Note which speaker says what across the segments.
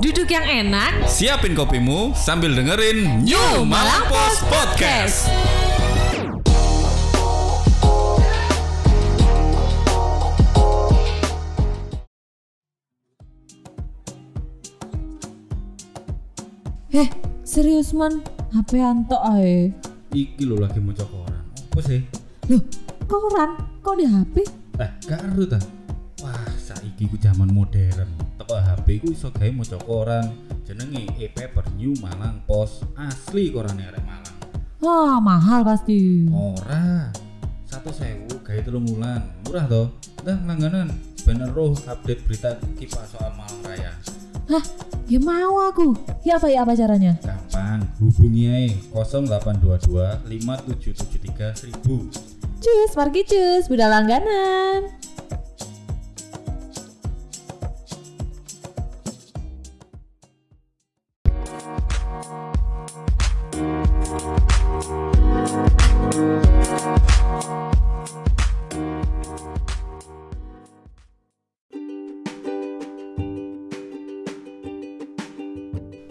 Speaker 1: Duduk yang enak.
Speaker 2: Siapin kopimu sambil dengerin New Malang Post Podcast.
Speaker 3: Heh, Eh, serius man, HP anto ae.
Speaker 4: Iki lho lagi mau koran. Apa sih?
Speaker 3: Loh, koran, kok di HP?
Speaker 4: Eh, karo ta. Wah, saiki ku zaman modern. Teko HP ku iso gawe mau koran. Jenenge e-paper New Malang Pos. Asli korane arek Malang.
Speaker 3: Wah, Ah, mahal pasti.
Speaker 4: Ora. Satu sewu gawe telung wulan. Murah to. Dah langganan. Bener roh update berita kipas soal Malang Raya.
Speaker 3: Hah, ya mau aku. Ya apa ya apa caranya?
Speaker 4: Kapan? Hubungi ae 0822 5773 1000.
Speaker 3: Cus, margi cus, budal langganan.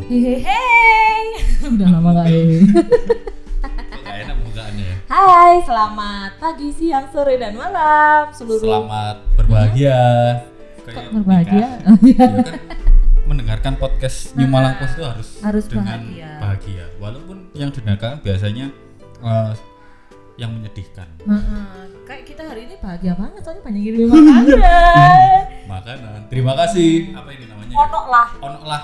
Speaker 3: Hehehe, udah lama gak ya?
Speaker 4: Gak enak bukaannya.
Speaker 3: Hai, selamat pagi, siang, sore, dan malam seluruh
Speaker 4: Selamat berbahagia. Kayak
Speaker 3: berbahagia.
Speaker 4: nikah. Ya kan, mendengarkan podcast New Malang Post itu harus,
Speaker 3: Harus
Speaker 4: dengan
Speaker 3: bahagia.
Speaker 4: bahagia. Walaupun yang didengarkan biasanya eh, yang menyedihkan.
Speaker 3: Heeh, Kayak kita hari ini bahagia banget soalnya banyak yang kirim makanan.
Speaker 4: Makanan. Terima kasih. Apa ini namanya? ya?
Speaker 3: Onok lah,
Speaker 4: Onoklah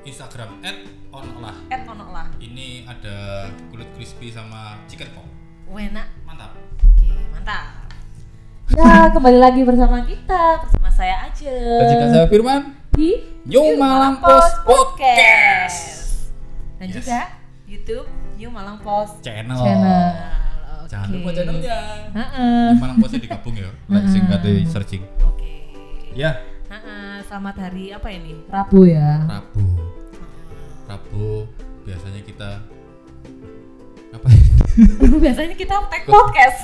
Speaker 4: Instagram @onoklah.
Speaker 3: et onok lah.
Speaker 4: Ini ada kulit crispy sama chicken pop.
Speaker 3: Enak.
Speaker 4: Mantap.
Speaker 3: Oke, mantap. Ya, kembali lagi bersama kita bersama saya aja
Speaker 4: Dan jika saya Firman,
Speaker 3: di
Speaker 4: New Malang Post Podcast.
Speaker 3: dan
Speaker 4: Yes.
Speaker 3: juga YouTube New Malang Post
Speaker 4: Channel.
Speaker 3: channel.
Speaker 4: Jangan
Speaker 3: Oke.
Speaker 4: lupa channelnya.
Speaker 3: Heeh.
Speaker 4: New Malang Postnya digabung ya. Like sing kate searching.
Speaker 3: Oke.
Speaker 4: Ya,
Speaker 3: Heeh, selamat hari apa ini? Rabu ya.
Speaker 4: Rabu. Rabu biasanya kita apa? ya?
Speaker 3: Biasanya kita tag podcast.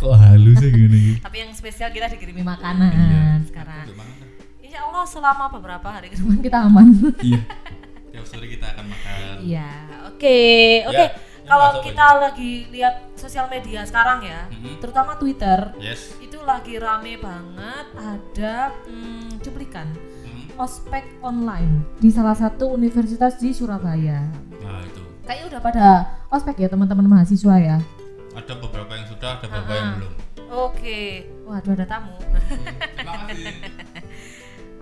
Speaker 4: Kok halus sih gini?
Speaker 3: Tapi yang spesial kita dikirimi
Speaker 4: Iya.
Speaker 3: makanan sekarang.
Speaker 4: Untuk makan.
Speaker 3: Insya Allah selama beberapa hari ke depan kita aman.
Speaker 4: Iya. Tiap sore kita akan makan.
Speaker 3: Iya, oke,
Speaker 4: Ya,
Speaker 3: oke.
Speaker 4: yang
Speaker 3: Kalau
Speaker 4: masuk
Speaker 3: kita lagi lihat sosial media sekarang ya,
Speaker 4: Mhm.
Speaker 3: terutama Twitter,
Speaker 4: Yes.
Speaker 3: itu lagi rame banget ada hmm, cuplikan
Speaker 4: Hmm.
Speaker 3: ospek online di salah satu universitas di Surabaya.
Speaker 4: Nah itu.
Speaker 3: Kayaknya udah pada ospek ya teman-teman mahasiswa ya.
Speaker 4: Ada beberapa yang sudah, ada beberapa yang
Speaker 3: Ah.
Speaker 4: belum.
Speaker 3: Oke. Waduh ada tamu.
Speaker 4: Terima kasih.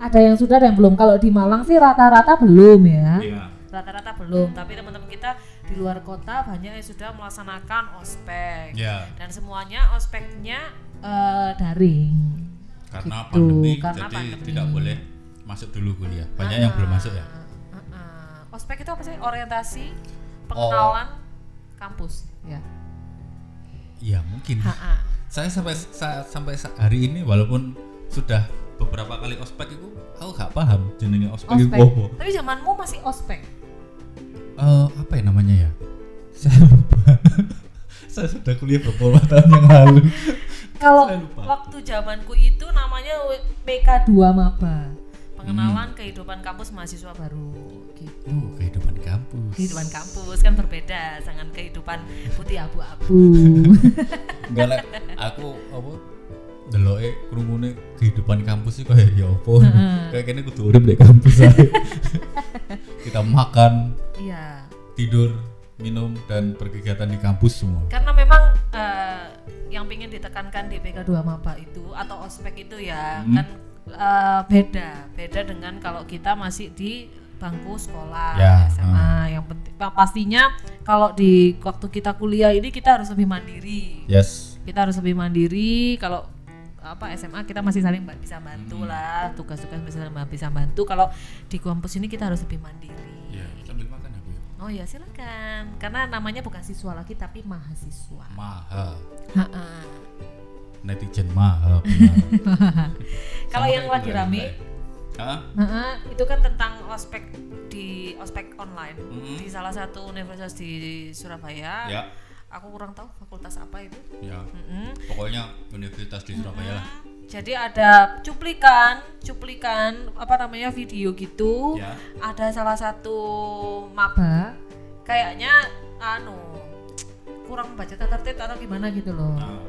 Speaker 3: ada yang sudah dan belum. Kalau di Malang sih rata-rata belum ya.
Speaker 4: Iya.
Speaker 3: Rata-rata belum, tapi teman-teman kita di luar kota banyak yang sudah melaksanakan ospek.
Speaker 4: Ya,
Speaker 3: dan semuanya ospeknya eh, daring.
Speaker 4: karena
Speaker 3: Gitu,
Speaker 4: pandemi
Speaker 3: karena
Speaker 4: jadi
Speaker 3: pandemi.
Speaker 4: tidak boleh masuk dulu kuliah. Banyak yang belum masuk ya.
Speaker 3: Ah, ah, ah. Ospek itu apa sih? Orientasi, pengenalan kampus. Ya.
Speaker 4: Iya, mungkin.
Speaker 3: Ha-ha.
Speaker 4: saya sampai sa- sampai sa- hari ini walaupun sudah beberapa kali ospek itu aku gak paham jenenge ospek, itu
Speaker 3: Ospek.
Speaker 4: apa.
Speaker 3: Tapi zamanmu masih ospek.
Speaker 4: Eh, apa ya namanya ya saya lupa saya sudah kuliah beberapa tahun yang lalu
Speaker 3: Kalau
Speaker 4: Saya lupa.
Speaker 3: waktu zamanku itu namanya PK2 Maba. Pengenalan kehidupan kampus mahasiswa baru. Hmm. Gitu.
Speaker 4: uh kehidupan kampus
Speaker 3: Kehidupan kampus kan berbeda dengan kehidupan putih abu-abu.
Speaker 4: enggak lah aku apa deloke krungune kehidupan kampus itu kayak ya apa kayak kene kudu urip di kampus aja. kita makan
Speaker 3: Iya.
Speaker 4: tidur minum dan berkegiatan di kampus semua
Speaker 3: karena memang eh, yang pingin ditekankan di PK2 Maba itu atau ospek itu ya kan eh, beda beda dengan kalau kita masih di bangku sekolah
Speaker 4: Ya,
Speaker 3: SMA yang penting pastinya kalau di waktu kita kuliah ini kita harus lebih mandiri
Speaker 4: yes
Speaker 3: kita harus lebih mandiri kalau apa SMA kita masih saling ba- bisa bantu lah tugas-tugas bisa bisa bantu kalau di kampus ini kita harus lebih mandiri
Speaker 4: Iya, sambil makan aku ya.
Speaker 3: oh ya silakan karena namanya bukan siswa lagi tapi mahasiswa
Speaker 4: Mahal.
Speaker 3: Ha-ha.
Speaker 4: Netizen mahal.
Speaker 3: Kalau yang lagi rame,
Speaker 4: Hah?
Speaker 3: heeh, itu kan tentang ospek di ospek online
Speaker 4: Mhm.
Speaker 3: di salah satu universitas di Surabaya.
Speaker 4: Ya,
Speaker 3: Aku kurang tahu fakultas apa itu. Hmm.
Speaker 4: ya.
Speaker 3: Mm-mm.
Speaker 4: Pokoknya universitas di Surabaya lah.
Speaker 3: Jadi ada cuplikan, cuplikan apa namanya video gitu.
Speaker 4: Ya.
Speaker 3: Ada salah satu maba kayaknya anu kurang baca tata tertib atau gimana gitu loh.
Speaker 4: Ah,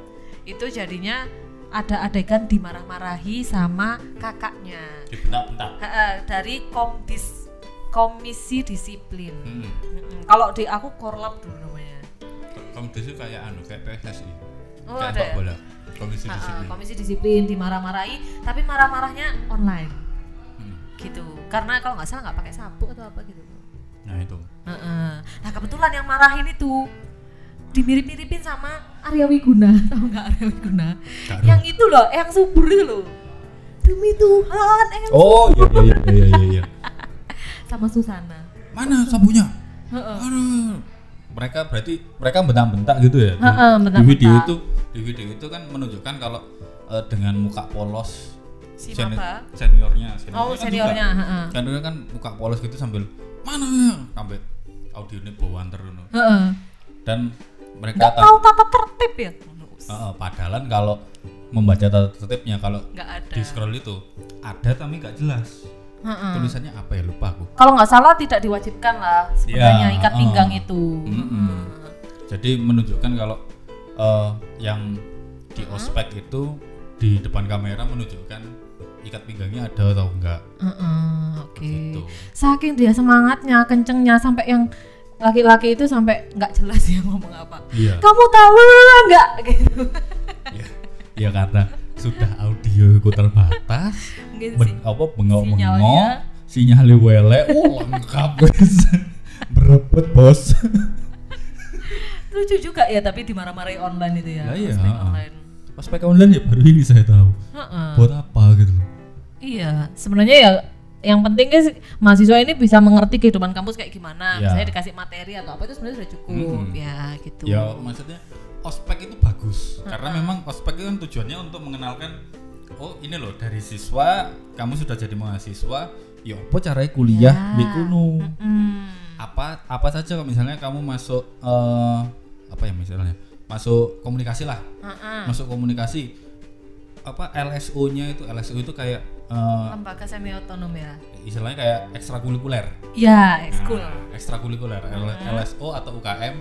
Speaker 3: Itu jadinya ada adegan dimarah-marahi sama kakaknya.
Speaker 4: dibentak-bentak.
Speaker 3: Heeh, dari komdis komisi disiplin.
Speaker 4: Hmm.
Speaker 3: Mm-mm. Kalau di aku korlap dulu namanya.
Speaker 4: Komisi kayak anu kayak PSSI.
Speaker 3: Oh, ada
Speaker 4: kayak sepak
Speaker 3: ya?
Speaker 4: bola. Komisi
Speaker 3: Ha-ha,
Speaker 4: disiplin.
Speaker 3: komisi disiplin dimarah-marahi, tapi marah-marahnya online
Speaker 4: Hmm.
Speaker 3: gitu. Karena kalau nggak salah nggak pakai sapu atau apa gitu.
Speaker 4: Nah itu.
Speaker 3: Heeh. Nah kebetulan yang marahin itu dimirip-miripin sama Arya Wiguna, tau nggak Arya Wiguna?
Speaker 4: Nggak
Speaker 3: Yang itu loh, yang subur itu loh. Demi Tuhan, eh
Speaker 4: Oh iya iya iya iya iya.
Speaker 3: sama Susana.
Speaker 4: Mana sabunya?
Speaker 3: Heeh.
Speaker 4: Aduh. Mereka berarti mereka bentak-bentak gitu ya. Di-
Speaker 3: Heeh,
Speaker 4: Di
Speaker 3: bentak-bentak.
Speaker 4: video itu di video itu kan menunjukkan kalau eh, dengan muka polos
Speaker 3: Si
Speaker 4: sen-
Speaker 3: Maba.
Speaker 4: seniornya, seniornya
Speaker 3: Oh
Speaker 4: kan
Speaker 3: seniornya,
Speaker 4: juga.
Speaker 3: heeh.
Speaker 4: Seniornya kan muka polos gitu sambil mana sampai audionya bawaan terus
Speaker 3: Heeh.
Speaker 4: dan mereka
Speaker 3: Nggak
Speaker 4: tak-
Speaker 3: tahu tata tertib ya?
Speaker 4: Heeh, padahal kalau membaca tata tertibnya kalau
Speaker 3: Nggak ada.
Speaker 4: di scroll itu ada tapi nggak jelas
Speaker 3: Heeh.
Speaker 4: tulisannya apa ya lupa aku
Speaker 3: Kalau nggak salah tidak diwajibkan lah sebenarnya
Speaker 4: Ya,
Speaker 3: ikat
Speaker 4: heeh.
Speaker 3: pinggang itu.
Speaker 4: Mm-mm. jadi menunjukkan kalau eh, yang di ospek itu di depan kamera menunjukkan ikat pinggangnya ada atau enggak
Speaker 3: Heeh, Oke.
Speaker 4: Gitu.
Speaker 3: Saking dia semangatnya, kencengnya sampai yang laki-laki itu sampai nggak jelas dia ngomong apa.
Speaker 4: iya
Speaker 3: Kamu tahu nggak gitu?
Speaker 4: iya Iya, karena sudah audio ku terbatas
Speaker 3: Mungkin sih.
Speaker 4: ben, apa bengok bengok
Speaker 3: Sinyalnya.
Speaker 4: sinyalnya wele uh lengkap guys berebut bos
Speaker 3: Lucu juga ya tapi dimarah-marahi online itu ya.
Speaker 4: Lah iya,
Speaker 3: ospek
Speaker 4: heeh.
Speaker 3: online.
Speaker 4: ospek online ya baru ini saya tahu
Speaker 3: Heeh.
Speaker 4: buat apa gitu loh
Speaker 3: Iya, sebenarnya ya yang penting guys mahasiswa ini bisa mengerti kehidupan kampus kayak gimana.
Speaker 4: Ya.
Speaker 3: Misalnya dikasih materi atau apa itu sebenarnya sudah cukup
Speaker 4: Mm-mm.
Speaker 3: ya gitu.
Speaker 4: Ya maksudnya ospek itu bagus karena memang ospek itu kan tujuannya untuk mengenalkan oh ini loh dari siswa kamu sudah jadi mahasiswa ya apa caranya kuliah di kuno
Speaker 3: Mm.
Speaker 4: apa apa saja kalau misalnya kamu masuk eh, apa ya misalnya masuk komunikasi lah
Speaker 3: Heeh.
Speaker 4: masuk komunikasi apa LSO-nya itu LSO itu kayak eh,
Speaker 3: Lembaga semi otonom ya.
Speaker 4: istilahnya kayak ekstrakurikuler
Speaker 3: Ya, ekskul.
Speaker 4: Nah, ekstrakurikuler LSO atau UKM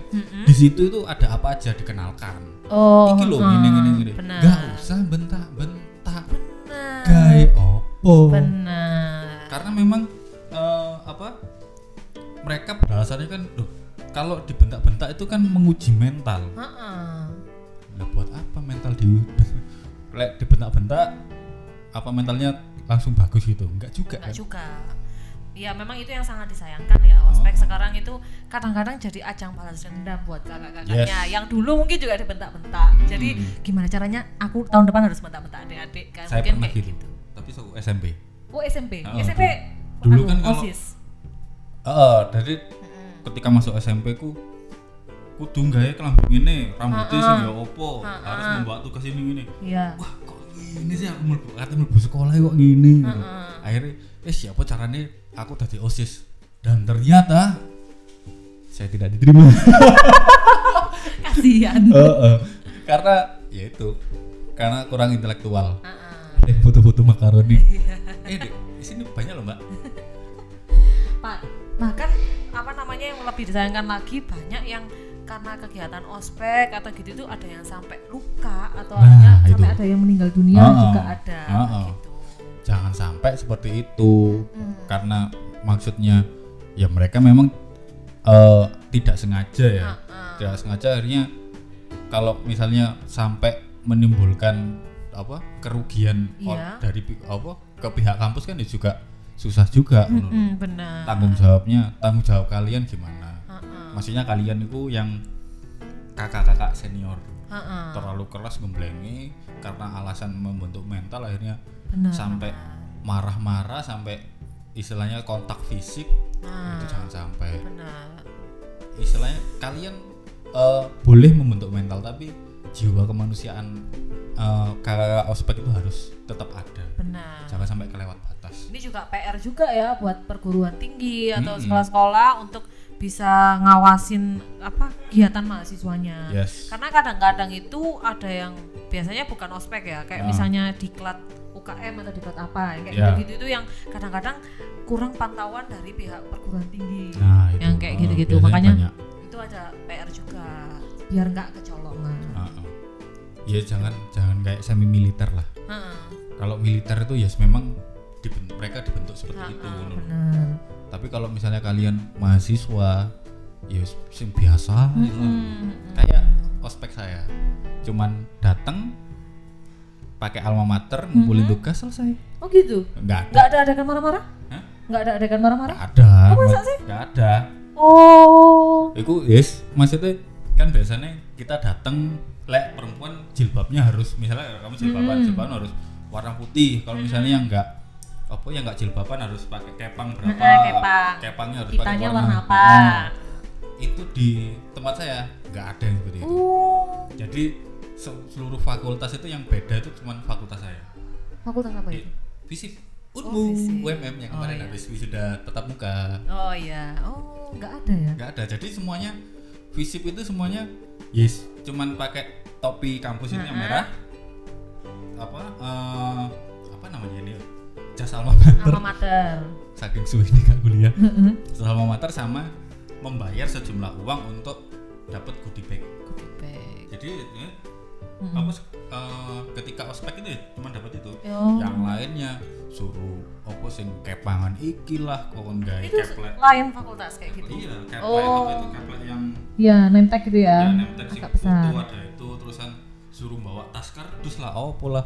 Speaker 4: di situ itu ada apa aja dikenalkan
Speaker 3: Oh,
Speaker 4: iki lho
Speaker 3: heeh.
Speaker 4: ngene ngene ngene.
Speaker 3: Benar.
Speaker 4: Gak usah bentak-bentak
Speaker 3: Benar.
Speaker 4: gawe opo.
Speaker 3: Benar.
Speaker 4: Karena memang eh, apa? Mereka balasannya kan loh kalau dibentak-bentak itu kan menguji mental.
Speaker 3: Heeh.
Speaker 4: Lah buat apa mental di lek dibentak-bentak apa mentalnya langsung bagus gitu? Enggak juga
Speaker 3: Enggak
Speaker 4: kan.
Speaker 3: juga. Ya memang itu yang sangat disayangkan ya
Speaker 4: Oh.
Speaker 3: ospek sekarang itu kadang-kadang jadi ajang balas dendam buat kakak-kakaknya
Speaker 4: Yes. Hmm.
Speaker 3: yang dulu mungkin juga dibentak-bentak. Jadi gimana caranya aku tahun depan harus bentak-bentak adik-adik kan
Speaker 4: Saya
Speaker 3: mungkin
Speaker 4: pernah
Speaker 3: kayak
Speaker 4: gitu. Tapi aku SMP.
Speaker 3: Oh SMP,
Speaker 4: Oh,
Speaker 3: SMP
Speaker 4: dulu. Dulu
Speaker 3: anu,
Speaker 4: kan kalau-
Speaker 3: OSIS.
Speaker 4: Heeh, dari
Speaker 3: Hmm.
Speaker 4: ketika masuk SMP ku kudu gawe kelambi ngene, rambutnya sing ya opo, harus membawa tugas ini ngene.
Speaker 3: Iya.
Speaker 4: wah kok gini sih aku mlebu kata mlebu sekolah kok gini gitu. akhirnya eh siapa caranya aku tadi osis dan ternyata saya tidak diterima
Speaker 3: Kasihan.
Speaker 4: Heeh. karena ya itu karena kurang intelektual ada yang foto-foto makaroni eh Dek, di sini banyak loh mbak
Speaker 3: Pak, bahkan apa namanya yang lebih disayangkan lagi banyak yang karena kegiatan ospek atau gitu itu ada yang sampai luka atau adanya
Speaker 4: Nah, itu.
Speaker 3: sampai ada yang meninggal dunia
Speaker 4: Ah,
Speaker 3: juga ada
Speaker 4: ah, ah.
Speaker 3: gitu.
Speaker 4: jangan sampai seperti itu karena maksudnya ya mereka memang eh, tidak sengaja ya tidak sengaja akhirnya kalau misalnya sampai menimbulkan apa kerugian ol-
Speaker 3: Iya.
Speaker 4: dari pi- apa ke pihak kampus kan ya juga susah juga menurut-
Speaker 3: Hmm, benar.
Speaker 4: tanggung jawabnya tanggung jawab kalian gimana
Speaker 3: Ah, ah,
Speaker 4: maksudnya kalian itu yang kakak-kakak senior
Speaker 3: ah, ah.
Speaker 4: terlalu keras ngeblengi karena alasan membentuk mental akhirnya
Speaker 3: Benar.
Speaker 4: sampai marah-marah sampai istilahnya kontak fisik
Speaker 3: Ah,
Speaker 4: itu jangan sampai
Speaker 3: benar.
Speaker 4: istilahnya kalian eh, boleh membentuk mental tapi jiwa kemanusiaan eh, kakak ospek itu harus tetap ada
Speaker 3: Benar.
Speaker 4: jangan sampai kelewat batas
Speaker 3: Ini juga PR juga ya buat perguruan tinggi atau
Speaker 4: Mm-mm.
Speaker 3: sekolah-sekolah untuk bisa ngawasin apa kegiatan mahasiswanya.
Speaker 4: Yes.
Speaker 3: Karena kadang-kadang itu ada yang biasanya bukan ospek ya, kayak
Speaker 4: Ah.
Speaker 3: misalnya diklat UKM atau diklat apa, kayak
Speaker 4: Ya.
Speaker 3: gitu itu yang kadang-kadang kurang pantauan dari pihak perguruan tinggi.
Speaker 4: Nah, itu.
Speaker 3: yang kayak
Speaker 4: Ah,
Speaker 3: gitu-gitu.
Speaker 4: biasanya
Speaker 3: Makanya
Speaker 4: banyak.
Speaker 3: itu ada PR juga biar nggak kecolongan.
Speaker 4: Ah, ah. ya jangan jangan kayak semi militer lah
Speaker 3: Heeh,
Speaker 4: kalau militer itu ya memang diben- mereka dibentuk
Speaker 3: Ah,
Speaker 4: seperti itu
Speaker 3: ah,
Speaker 4: ngono loh.
Speaker 3: benar.
Speaker 4: tapi kalau misalnya kalian mahasiswa ya s- sing biasa gitu.
Speaker 3: Hmm,
Speaker 4: kayak ospek saya cuman datang pakai alma mater ngumpulin tugas selesai
Speaker 3: Oh gitu.
Speaker 4: nggak ada
Speaker 3: Nggak ada adegan marah-marah?
Speaker 4: Hah?
Speaker 3: Nggak ada adegan marah-marah?
Speaker 4: nggak ada
Speaker 3: masa sih?
Speaker 4: nggak ada
Speaker 3: Oh.
Speaker 4: Iku yes, maksudnya kan biasanya kita datang lek perempuan jilbabnya harus misalnya kamu jilbaban, jilbaban harus warna putih. Kalau misalnya yang enggak apa yang enggak jilbaban harus pakai kepang berapa?
Speaker 3: Eh, kepang.
Speaker 4: Kepangnya harus pakai
Speaker 3: Kitanya warna apa?
Speaker 4: Ah. itu di tempat saya enggak ada yang seperti itu.
Speaker 3: Oh.
Speaker 4: Jadi se- seluruh fakultas itu yang beda itu cuma fakultas saya.
Speaker 3: Fakultas apa ya?
Speaker 4: Di
Speaker 3: itu?
Speaker 4: Visip
Speaker 3: iya. Oh,
Speaker 4: Unmu
Speaker 3: Visip.
Speaker 4: UMM yang
Speaker 3: Oh,
Speaker 4: kemarin
Speaker 3: iya.
Speaker 4: habis wisuda tatap muka.
Speaker 3: Oh iya. Oh, nggak ada ya?
Speaker 4: nggak ada jadi semuanya visip itu semuanya yes cuman pakai topi kampus ini yang
Speaker 3: Nah.
Speaker 4: merah apa eh, apa namanya ini ya? jas alma mater
Speaker 3: Alma mater.
Speaker 4: saking suwi ini kak kuliah jas alma mater sama membayar sejumlah uang untuk dapat goodie bag
Speaker 3: Goodie bag.
Speaker 4: jadi eh,
Speaker 3: Mm-mm.
Speaker 4: kamu eh, ketika ospek itu ya cuma dapat itu
Speaker 3: Yo.
Speaker 4: yang lainnya suruh opo sing kepangan ikilah kon gawe
Speaker 3: Itu
Speaker 4: keplek
Speaker 3: lain fakultas kayak gitu.
Speaker 4: iya keplek
Speaker 3: Oh.
Speaker 4: apa itu keplek yang
Speaker 3: Iya, name tag gitu ya.
Speaker 4: ya nem tag sing foto ada itu terusan suruh bawa tas kardus lah oh pola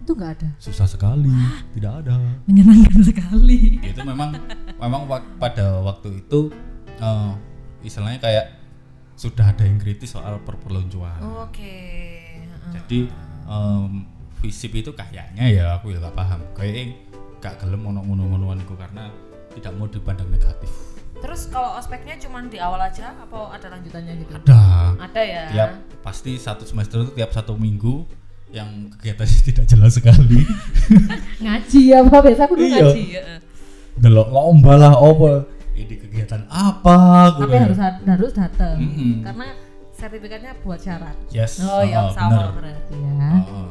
Speaker 3: Itu nggak ada.
Speaker 4: susah sekali tidak ada
Speaker 3: Menyenangkan sekali.
Speaker 4: itu memang memang wak- pada waktu itu eh, istilahnya kayak sudah ada yang kritis soal perpeloncoan
Speaker 3: Oke. Heeh.
Speaker 4: jadi em, visip itu kayaknya ya aku ya gak paham kayak gak gelem ono ngono-ngonoan iku karena tidak mau dipandang negatif
Speaker 3: Terus kalau ospeknya cuma di awal aja apa ada lanjutannya gitu?
Speaker 4: ada
Speaker 3: Ada ya.
Speaker 4: tiap pasti satu semester itu tiap satu minggu yang kegiatannya tidak jelas sekali
Speaker 3: Ngaji ya, Pak. Biasa aku dulu
Speaker 4: Iya.
Speaker 3: ngaji ya.
Speaker 4: delok lomba lah apa ini kegiatan apa aku
Speaker 3: Tapi
Speaker 4: bilang.
Speaker 3: harus harus datang
Speaker 4: Mm-mm.
Speaker 3: karena sertifikatnya buat syarat.
Speaker 4: yes
Speaker 3: Oh, yang
Speaker 4: heeh,
Speaker 3: sama
Speaker 4: Ah, bener.
Speaker 3: berarti ya.
Speaker 4: Heeh.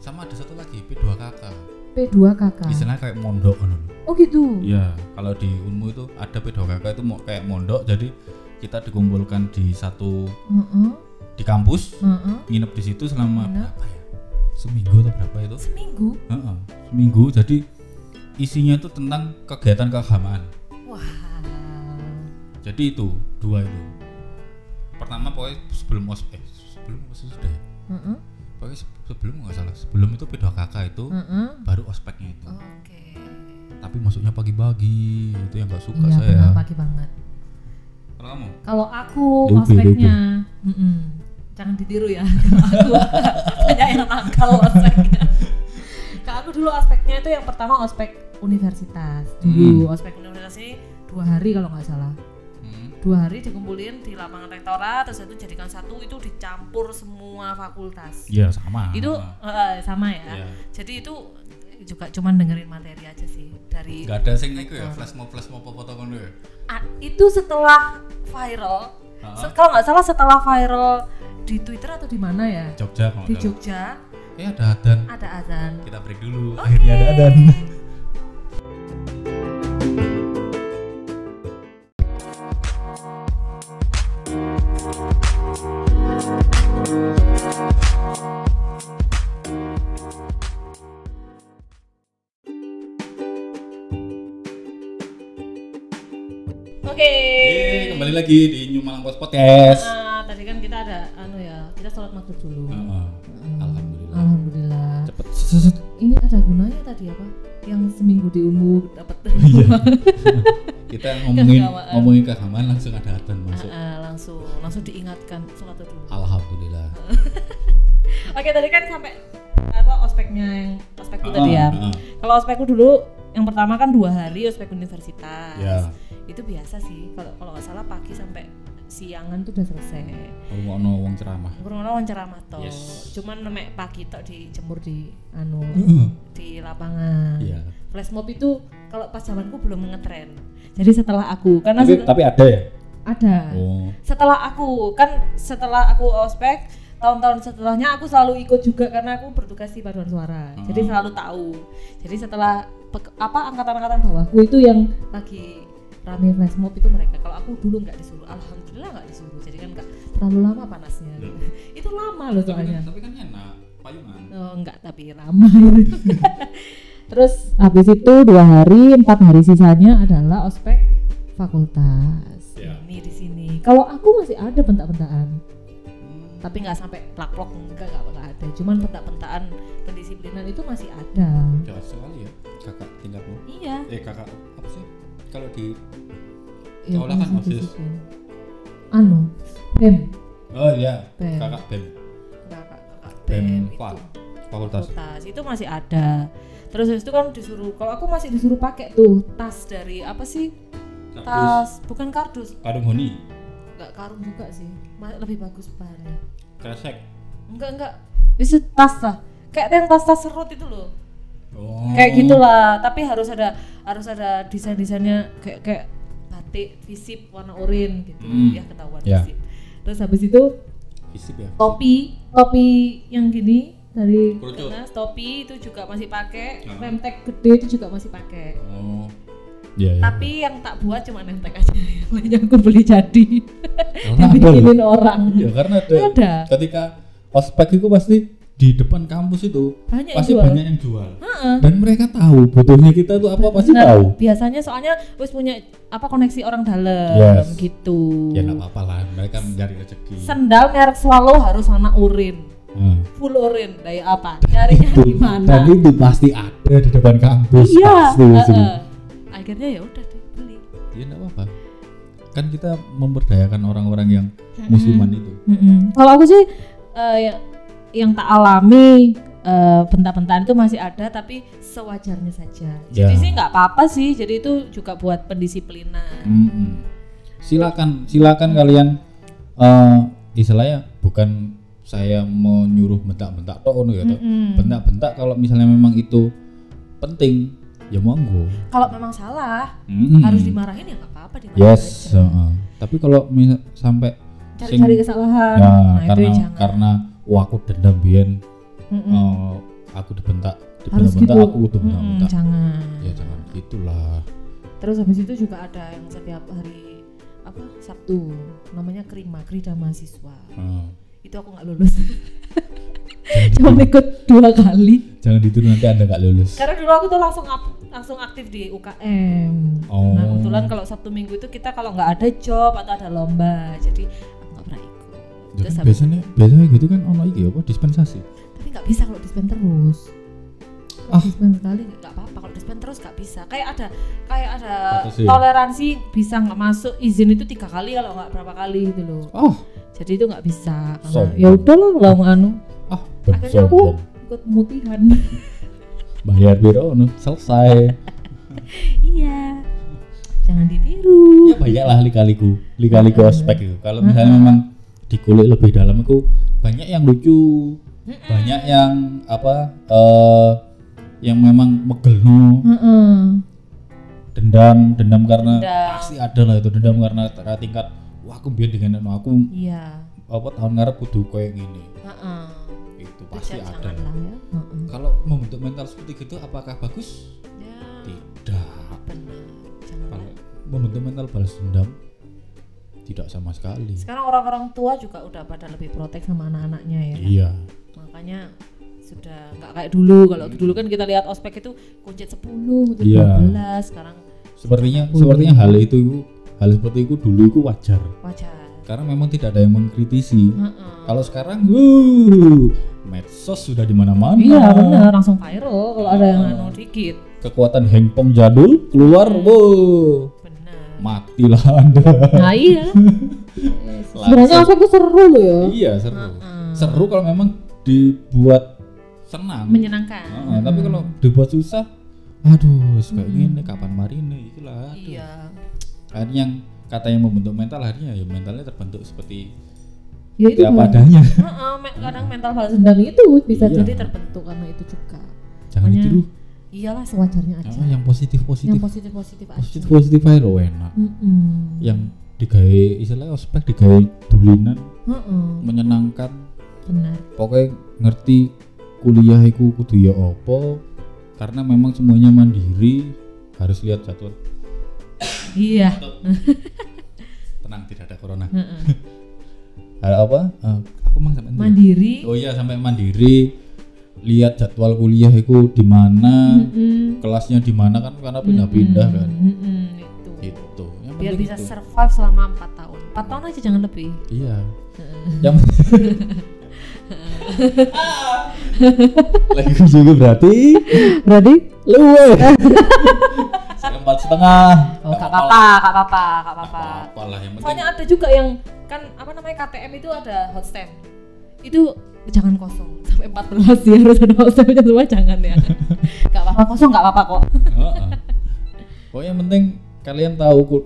Speaker 4: sama ada satu lagi P2KK
Speaker 3: Ah. P2KK.
Speaker 4: istilahnya kayak mondok kan
Speaker 3: Oh gitu.
Speaker 4: iya kalau di Unmu itu ada P2KK itu mau kayak mondok jadi kita dikumpulkan di satu
Speaker 3: Heeh.
Speaker 4: di kampus
Speaker 3: Heeh.
Speaker 4: nginep di situ selama
Speaker 3: Hmm. Nginep.
Speaker 4: berapa ya seminggu atau berapa itu
Speaker 3: Seminggu.
Speaker 4: Heeh, seminggu jadi isinya itu tentang kegiatan keagamaan
Speaker 3: Wah.
Speaker 4: jadi itu dua itu pertama pokoknya sebelum os eh sebelum os sudah ya
Speaker 3: Heeh.
Speaker 4: pokoknya se- sebelum nggak salah sebelum itu p kakak itu
Speaker 3: Heeh.
Speaker 4: baru ospeknya itu
Speaker 3: Oke.
Speaker 4: tapi masuknya pagi-pagi itu yang nggak suka
Speaker 3: Iya,
Speaker 4: saya
Speaker 3: benar pagi banget.
Speaker 4: kalau kamu
Speaker 3: Kalau aku
Speaker 4: Lugu,
Speaker 3: ospeknya, mm-mm. jangan ditiru ya. Kalau aku banyak yang nakal ospeknya. Kalau aku dulu ospeknya itu yang pertama ospek universitas. Dulu ospek universitas ini dua hari kalau nggak salah.
Speaker 4: Hmm,
Speaker 3: Dua hari dikumpulin di lapangan rektorat, terus itu jadikan satu itu dicampur semua fakultas.
Speaker 4: iya sama
Speaker 3: Itu eh, sama ya.
Speaker 4: Iya.
Speaker 3: Jadi itu juga cuman dengerin materi aja sih dari
Speaker 4: nggak ada sing itu ya flash mob flash mob foto kono ya
Speaker 3: Ah, itu setelah viral
Speaker 4: Ah.
Speaker 3: Se- kalau nggak salah setelah viral di Twitter atau di mana ya
Speaker 4: Jogja kalau
Speaker 3: di
Speaker 4: nggak salah.
Speaker 3: Jogja
Speaker 4: eh ada adan
Speaker 3: ada azan
Speaker 4: kita break dulu
Speaker 3: Oke.
Speaker 4: akhirnya ada adan
Speaker 3: oke
Speaker 4: Eh, kembali lagi di New Malang Post Podcast
Speaker 3: Ah, tadi kan kita ada anu ya kita sholat maghrib dulu
Speaker 4: Heeh. alhamdulillah
Speaker 3: alhamdulillah
Speaker 4: cepet Seset.
Speaker 3: ini ada gunanya tadi apa yang seminggu di Unmu dapat
Speaker 4: Iya. kita ngomongin
Speaker 3: Keagamaan.
Speaker 4: ngomongin keagamaan langsung ada adan masuk
Speaker 3: Eh, langsung langsung diingatkan sholat dulu
Speaker 4: alhamdulillah
Speaker 3: Oke tadi kan sampai apa ospeknya yang ospekku tadi ya.
Speaker 4: Ah, ah.
Speaker 3: Kalau ospekku dulu yang pertama kan dua hari ospek universitas.
Speaker 4: Ya.
Speaker 3: Itu biasa sih. Kalau kalau nggak salah pagi sampai siangan tuh udah selesai.
Speaker 4: Kalau mau wong ceramah
Speaker 3: Kurang orang ceramah toh.
Speaker 4: Yes.
Speaker 3: Cuman nemek pagi tok dijemur di anu
Speaker 4: Heeh.
Speaker 3: di lapangan.
Speaker 4: Iya.
Speaker 3: Flash mob itu kalau pas zamanku belum ngetren. Jadi setelah aku karena
Speaker 4: tapi,
Speaker 3: setel-
Speaker 4: tapi ada ya
Speaker 3: ada.
Speaker 4: Oh.
Speaker 3: Setelah aku kan setelah aku ospek tahun-tahun setelahnya aku selalu ikut juga karena aku bertugas di paduan suara. Jadi
Speaker 4: Hmm.
Speaker 3: selalu tahu. Jadi setelah pek- apa angkatan-angkatan bawahku itu yang lagi rame flash mob itu mereka. Kalau aku dulu nggak disuruh, alhamdulillah nggak disuruh. Jadi kan nggak terlalu lama panasnya.
Speaker 4: Loh.
Speaker 3: itu lama loh
Speaker 4: Tapi kan,
Speaker 3: soalnya.
Speaker 4: tapi kan enak payungan.
Speaker 3: Oh, enggak tapi ramai. Terus habis itu dua hari, empat hari sisanya adalah ospek fakultas.
Speaker 4: Ya.
Speaker 3: Ini di sini. Kalau aku masih ada bentak-bentakan,
Speaker 4: Hmm.
Speaker 3: tapi nggak sampai plak-plok enggak enggak enggak ada. Cuman bentak-bentakan pendisiplinan itu masih ada.
Speaker 4: Jahat sekali ya kakak tingkatmu.
Speaker 3: Iya.
Speaker 4: Eh kakak apa sih? Kalau di
Speaker 3: iya,
Speaker 4: Seolah kan
Speaker 3: masih
Speaker 4: OSIS.
Speaker 3: disiplin. Anu, BEM.
Speaker 4: oh iya
Speaker 3: Bem.
Speaker 4: kakak bem
Speaker 3: Kakak- kakak
Speaker 4: bem
Speaker 3: itu.
Speaker 4: Fak. fakultas.
Speaker 3: tas itu masih ada terus habis itu kan disuruh kalau aku masih disuruh pakai tuh tas dari apa sih
Speaker 4: Nah, Terus
Speaker 3: tas bukan kardus
Speaker 4: kadung honi,
Speaker 3: nggak karung juga sih Ma- lebih bagus bahannya
Speaker 4: kresek.
Speaker 3: enggak enggak itu tas lah kayak yang tas-tas serut itu loh
Speaker 4: Oh.
Speaker 3: kayak gitu. gitulah tapi harus ada harus ada desain desainnya kayak kayak batik visip warna oranye gitu
Speaker 4: Hmm.
Speaker 3: ya ketahuan
Speaker 4: Ya.
Speaker 3: visip terus habis itu
Speaker 4: Fisip ya.
Speaker 3: topi topi yang gini dari
Speaker 4: Kerucut.
Speaker 3: Nas, topi itu juga masih pakai
Speaker 4: Ah.
Speaker 3: remtek gede itu juga masih pakai
Speaker 4: Oh. Iya.
Speaker 3: tapi yang tak buat cuma remtek aja yang aku beli jadi
Speaker 4: Kenapa?
Speaker 3: dibikinin orang
Speaker 4: Iya karena ada,
Speaker 3: Hmm. Ada.
Speaker 4: ketika ospek itu pasti di depan kampus itu
Speaker 3: Banyak yang
Speaker 4: pasti
Speaker 3: jual.
Speaker 4: banyak yang jual.
Speaker 3: Heeh.
Speaker 4: Dan mereka tahu butuhnya kita tuh apa pasti
Speaker 3: Bener.
Speaker 4: tahu.
Speaker 3: biasanya soalnya wis punya apa koneksi orang dalam
Speaker 4: Yes.
Speaker 3: gitu
Speaker 4: Ya nggak apa-apa lah, mereka mencari rezeki.
Speaker 3: sendal merek swallow harus warna urin
Speaker 4: Nah.
Speaker 3: full urin dari apa nyarinya
Speaker 4: Itu-
Speaker 3: gimana
Speaker 4: Dan itu pasti ada di depan kampus.
Speaker 3: iya
Speaker 4: Pasti di sini.
Speaker 3: heeh. akhirnya ya udah deh beli
Speaker 4: Ya nggak apa-apa. Kan kita memberdayakan orang-orang yang musliman itu.
Speaker 3: Mm-mm. Kalau aku sih eh, ya- yang tak alami eh, bentar-bentar itu masih ada tapi sewajarnya saja. Jadi
Speaker 4: Ya.
Speaker 3: sih nggak apa-apa sih. Jadi itu juga buat pendisiplinan.
Speaker 4: Mm-mm. Silakan, silakan kalian eh istilahnya bukan saya menyuruh bentak-bentak tok ngono ya tok.
Speaker 3: Mm-mm.
Speaker 4: Bentak-bentak kalau misalnya memang itu penting ya monggo.
Speaker 3: Kalau memang salah
Speaker 4: Mm-mm.
Speaker 3: harus dimarahin ya nggak apa-apa dimarahin.
Speaker 4: Mm. Yes,
Speaker 3: aja.
Speaker 4: heeh. Tapi kalau misal sampai
Speaker 3: Cari-cari kesalahan.
Speaker 4: ya,
Speaker 3: nah itu
Speaker 4: karena
Speaker 3: yang jangan.
Speaker 4: karena wah aku dendam biyen
Speaker 3: Mm-mm.
Speaker 4: eh, aku dibentak,
Speaker 3: harus
Speaker 4: dibentak-bentak
Speaker 3: gitu.
Speaker 4: aku udah
Speaker 3: Mm-mm,
Speaker 4: bentak-bentak.
Speaker 3: jangan.
Speaker 4: Ya jangan gitulah.
Speaker 3: Terus habis itu juga ada yang setiap hari apa Sabtu namanya Krima Krida Mahasiswa.
Speaker 4: Heeh.
Speaker 3: Itu aku nggak lulus. Cuma ikut dua kali.
Speaker 4: Jangan ditiru nanti Anda nggak lulus.
Speaker 3: Karena dulu aku tuh langsung ap- langsung aktif di UKM.
Speaker 4: Oh.
Speaker 3: Nah kebetulan kalau Sabtu Minggu itu kita kalau nggak ada job atau ada lomba, jadi aku nggak pernah ikut.
Speaker 4: Ya
Speaker 3: Terus
Speaker 4: kan
Speaker 3: habis-
Speaker 4: biasanya biasanya gitu kan ono iki apa dispensasi.
Speaker 3: tapi nggak bisa kalau dispen terus. Kalau
Speaker 4: Ah.
Speaker 3: dispen sekali nggak apa-apa. Kalau dispen terus nggak bisa. Kayak ada kayak ada
Speaker 4: Batasi.
Speaker 3: toleransi bisa nggak masuk izin itu tiga kali kalau nggak berapa kali gitu loh.
Speaker 4: Oh,
Speaker 3: Jadi itu nggak bisa. Karena
Speaker 4: Sombong.
Speaker 3: ya udahlah lah anu.
Speaker 4: ah
Speaker 3: Akhirnya aku ikut mutihan.
Speaker 4: Bayar biro ono selesai.
Speaker 3: iya. Jangan ditiru.
Speaker 4: ya banyak lah lika-liku, lika-liku
Speaker 3: Hmm.
Speaker 4: ospek itu. Kalau misalnya memang dikulik lebih dalam itu banyak yang lucu,
Speaker 3: Hmm.
Speaker 4: banyak yang apa eh yang memang megelno,
Speaker 3: Heeh.
Speaker 4: dendam, dendam karena
Speaker 3: Hmm. Dendam.
Speaker 4: pasti ada lah itu dendam karena karena tingkat wah aku biar dengan anu, aku
Speaker 3: Iya.
Speaker 4: apa tahun ngarep kudu kayak gini.
Speaker 3: Heeh. Itu
Speaker 4: Itu pasti
Speaker 3: jangan-
Speaker 4: ada.
Speaker 3: janganlah ya. Heeh.
Speaker 4: Kalau membentuk mental seperti gitu apakah bagus?
Speaker 3: Ya,
Speaker 4: Iya. Tidak.
Speaker 3: benar. Janganlah.
Speaker 4: Kalau membentuk mental balas dendam tidak sama sekali.
Speaker 3: Sekarang orang-orang tua juga udah pada lebih protek sama anak-anaknya ya.
Speaker 4: Iya.
Speaker 3: Makanya sudah nggak kayak dulu. Kalau dulu kan kita lihat ospek itu kuncit 10, kuncit
Speaker 4: Hmm. Iya.
Speaker 3: 12, sekarang
Speaker 4: Sepertinya sepertinya hal itu hal seperti itu dulu itu wajar
Speaker 3: wajar.
Speaker 4: karena memang tidak ada yang mengkritisi.
Speaker 3: Heeh.
Speaker 4: Kalau sekarang wuh, medsos sudah di mana-mana.
Speaker 3: Iya benar, langsung viral kalau ada yang anu dikit.
Speaker 4: Kekuatan hengpong jadul keluar wuh,
Speaker 3: Benar.
Speaker 4: matilah Anda.
Speaker 3: Nah iya. Sebenarnya Hmm. ospek itu seru loh ya.
Speaker 4: Iya, seru. Seru kalau memang dibuat senang.
Speaker 3: Menyenangkan.
Speaker 4: Heeh, tapi kalau
Speaker 3: Hmm.
Speaker 4: dibuat susah, aduh, wis kayak gini kapan marine ikilah. aduh.
Speaker 3: Iya.
Speaker 4: Akhirnya yang katanya membentuk mental akhirnya ya mentalnya terbentuk seperti
Speaker 3: Ya itu
Speaker 4: apa
Speaker 3: Bang.
Speaker 4: adanya.
Speaker 3: Heeh, me- kadang mental balas dendam itu bisa
Speaker 4: Iya.
Speaker 3: jadi terbentuk karena itu juga.
Speaker 4: Jangan
Speaker 3: Makanya
Speaker 4: ditiru.
Speaker 3: Iyalah sewajarnya aja.
Speaker 4: Ah, yang positif
Speaker 3: yang Hmm.
Speaker 4: positif.
Speaker 3: positif positif aja.
Speaker 4: Positif positif aja loh enak.
Speaker 3: Mm-mm.
Speaker 4: Yang digawe istilahnya ospek digawe dulinan
Speaker 3: Mm-mm,
Speaker 4: menyenangkan
Speaker 3: benar
Speaker 4: pokoknya ngerti kuliah iku kudu ya apa karena memang semuanya mandiri harus lihat jadwal
Speaker 3: iya
Speaker 4: tenang tidak ada corona
Speaker 3: Mm-mm.
Speaker 4: ada apa Eh, aku mang sampai
Speaker 3: mandiri
Speaker 4: mandiri oh iya sampai mandiri lihat jadwal kuliah itu di mana
Speaker 3: Mm-mm.
Speaker 4: kelasnya di mana kan karena pindah-pindah kan
Speaker 3: Mm-mm, itu.
Speaker 4: gitu Yang
Speaker 3: biar
Speaker 4: penting
Speaker 3: bisa
Speaker 4: itu.
Speaker 3: survive selama 4 tahun 4 tahun aja jangan lebih
Speaker 4: iya yang lagi juga berarti
Speaker 3: berarti
Speaker 4: luwe Saya empat setengah
Speaker 3: oh gak apa-apa gak apa-apa gak apa-apa
Speaker 4: apa lah yang penting
Speaker 3: soalnya ada juga yang kan apa namanya KTM itu ada hot stand itu jangan kosong sampai 14 ya harus ada hot stand semua jangan ya gak apa-apa kosong gak apa-apa kok
Speaker 4: Heeh. pokoknya yang penting kalian tahu ku,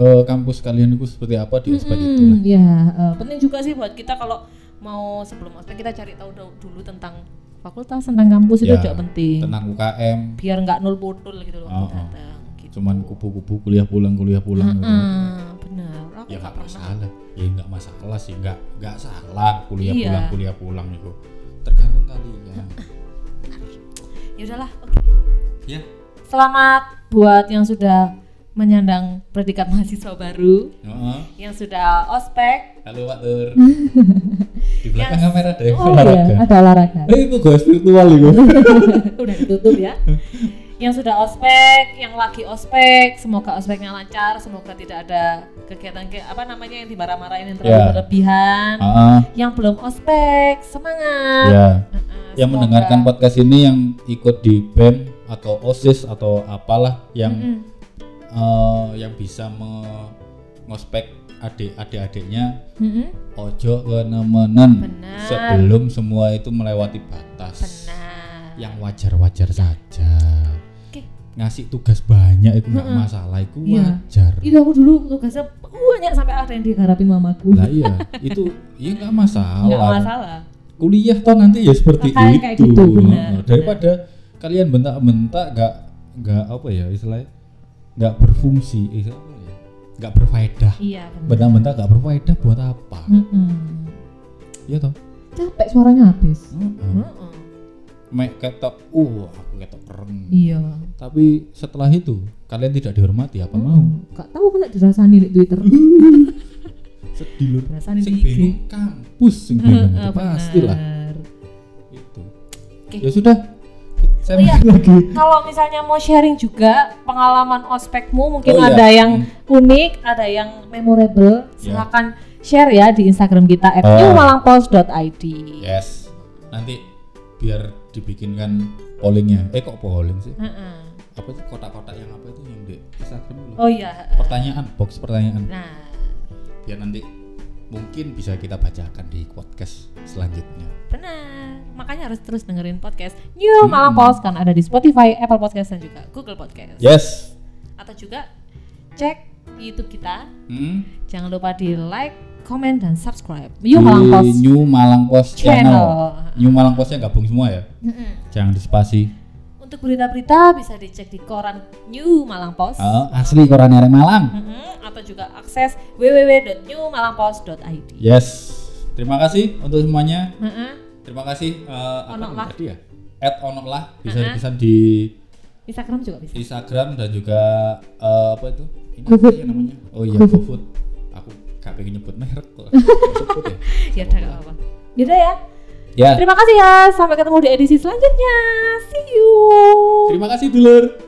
Speaker 4: eh, kampus kalian itu seperti apa di ospek itu lah
Speaker 3: Hmm, ya eh, penting juga sih buat kita kalau mau sebelum ospek kita cari tahu dau- dulu tentang fakultas tentang kampus itu
Speaker 4: Ya,
Speaker 3: juga penting
Speaker 4: tentang UKM
Speaker 3: biar nggak nol botol gitu loh waktu
Speaker 4: Oh, oh.
Speaker 3: datang gitu.
Speaker 4: cuman kupu-kupu kuliah pulang kuliah pulang gitu.
Speaker 3: Heeh, benar aku
Speaker 4: ya
Speaker 3: nggak
Speaker 4: nggak
Speaker 3: pernah
Speaker 4: masalah ya nggak masalah sih nggak nggak salah kuliah
Speaker 3: Iya.
Speaker 4: pulang kuliah pulang itu tergantung kalian
Speaker 3: ya udahlah oke
Speaker 4: ya
Speaker 3: selamat buat yang sudah menyandang predikat mahasiswa baru
Speaker 4: Heeh.
Speaker 3: yang sudah ospek
Speaker 4: halo Pak Tur di belakang kamera ada yang
Speaker 3: oh
Speaker 4: olahraga
Speaker 3: iya ada olahraga
Speaker 4: eh itu ghost virtual itu
Speaker 3: udah ditutup ya yang sudah ospek yang lagi ospek semoga ospeknya lancar semoga tidak ada kegiatan ke apa namanya yang dimarah-marahin yang terlalu
Speaker 4: Ya.
Speaker 3: berlebihan
Speaker 4: Heeh.
Speaker 3: yang belum ospek semangat
Speaker 4: ya
Speaker 3: Heeh,
Speaker 4: yang
Speaker 3: semoga-
Speaker 4: mendengarkan podcast ini yang ikut di BEM atau OSIS atau apalah yang
Speaker 3: Mm-mm.
Speaker 4: eh, yang bisa me- ngospek adik-adik-adiknya
Speaker 3: Mm-mm.
Speaker 4: ojo kenemenan
Speaker 3: Benar.
Speaker 4: sebelum semua itu melewati batas
Speaker 3: benar
Speaker 4: yang wajar-wajar saja
Speaker 3: Oke.
Speaker 4: ngasih tugas banyak itu nggak
Speaker 3: Mm-mm.
Speaker 4: masalah itu
Speaker 3: Iya.
Speaker 4: wajar
Speaker 3: itu aku dulu tugasnya banyak sampai ada yang diharapin mamaku
Speaker 4: lah iya itu ya nggak masalah.
Speaker 3: nggak masalah
Speaker 4: kuliah toh nanti ya seperti
Speaker 3: Makanya kayak
Speaker 4: itu
Speaker 3: gitu, benar,
Speaker 4: Heeh, daripada kalian bentak-bentak nggak nggak apa ya istilahnya nggak berfungsi eh, apa ya? nggak berfaedah
Speaker 3: iya benar
Speaker 4: bentak-bentak nggak berfaedah buat apa
Speaker 3: Mm-mm.
Speaker 4: Iya toh
Speaker 3: capek suaranya habis
Speaker 4: Heeh.
Speaker 3: Mm-mm.
Speaker 4: Mek ketok uh aku ketok keren
Speaker 3: iya
Speaker 4: tapi setelah itu kalian tidak dihormati apa mau
Speaker 3: Gak tahu kok dirasani di Twitter
Speaker 4: sedih lur
Speaker 3: Rasanya
Speaker 4: sing
Speaker 3: di IG.
Speaker 4: bingung kampus sing bingung itu
Speaker 3: Heeh,
Speaker 4: pasti lah
Speaker 3: benar.
Speaker 4: itu
Speaker 3: Oke.
Speaker 4: ya sudah saya
Speaker 3: Oh iya.
Speaker 4: balik lagi
Speaker 3: Kalau misalnya mau sharing juga pengalaman ospekmu, mungkin
Speaker 4: Oh iya.
Speaker 3: ada yang unik, ada yang memorable,
Speaker 4: Ya.
Speaker 3: silakan share ya di Instagram kita
Speaker 4: Oh.
Speaker 3: @newmalangpost.id.
Speaker 4: Yes. Nanti biar dibikinkan pollingnya. Eh kok polling sih?
Speaker 3: Heeh.
Speaker 4: Apa sih kotak-kotak yang apa itu yang di Instagram dulu?
Speaker 3: Oh iya. heeh.
Speaker 4: Pertanyaan, box pertanyaan.
Speaker 3: Nah,
Speaker 4: Biar nanti mungkin bisa kita bacakan di podcast selanjutnya.
Speaker 3: benar. Makanya harus terus dengerin podcast New Malang Post kan ada di Spotify, Apple Podcast dan juga Google
Speaker 4: Ya.
Speaker 3: Podcast.
Speaker 4: Yes.
Speaker 3: Atau juga cek YouTube kita.
Speaker 4: Hmm.
Speaker 3: Jangan lupa di like, comment dan subscribe.
Speaker 4: Di
Speaker 3: New Malang Post.
Speaker 4: New Malang Post channel.
Speaker 3: Channel.
Speaker 4: New Malang Postnya gabung semua ya.
Speaker 3: Mm-mm.
Speaker 4: Jangan dispasi.
Speaker 3: Untuk berita-berita bisa dicek di koran New Malang Post
Speaker 4: Ah. asli koran Arek Malang.
Speaker 3: Mhm, atau juga akses www.newmalangpost.id.
Speaker 4: Yes. Terima kasih untuk semuanya.
Speaker 3: Mhm.
Speaker 4: Terima kasih eh, apa
Speaker 3: Ono
Speaker 4: namanya
Speaker 3: lah.
Speaker 4: tadi ya? At ono lah bisa
Speaker 3: Uh-uh.
Speaker 4: bisa di
Speaker 3: Instagram juga bisa.
Speaker 4: Instagram dan juga eh, apa itu? Ini apa
Speaker 3: GoFood.
Speaker 4: sih yang namanya? Oh iya, GoFood. Aku gak pengen nyebut merek kok. GoFood ya.
Speaker 3: Ya udah nggak apa-apa. Yaudah ya.
Speaker 4: Ya.
Speaker 3: Terima kasih ya. Sampai ketemu di edisi selanjutnya. See you.
Speaker 4: Terima kasih dulur.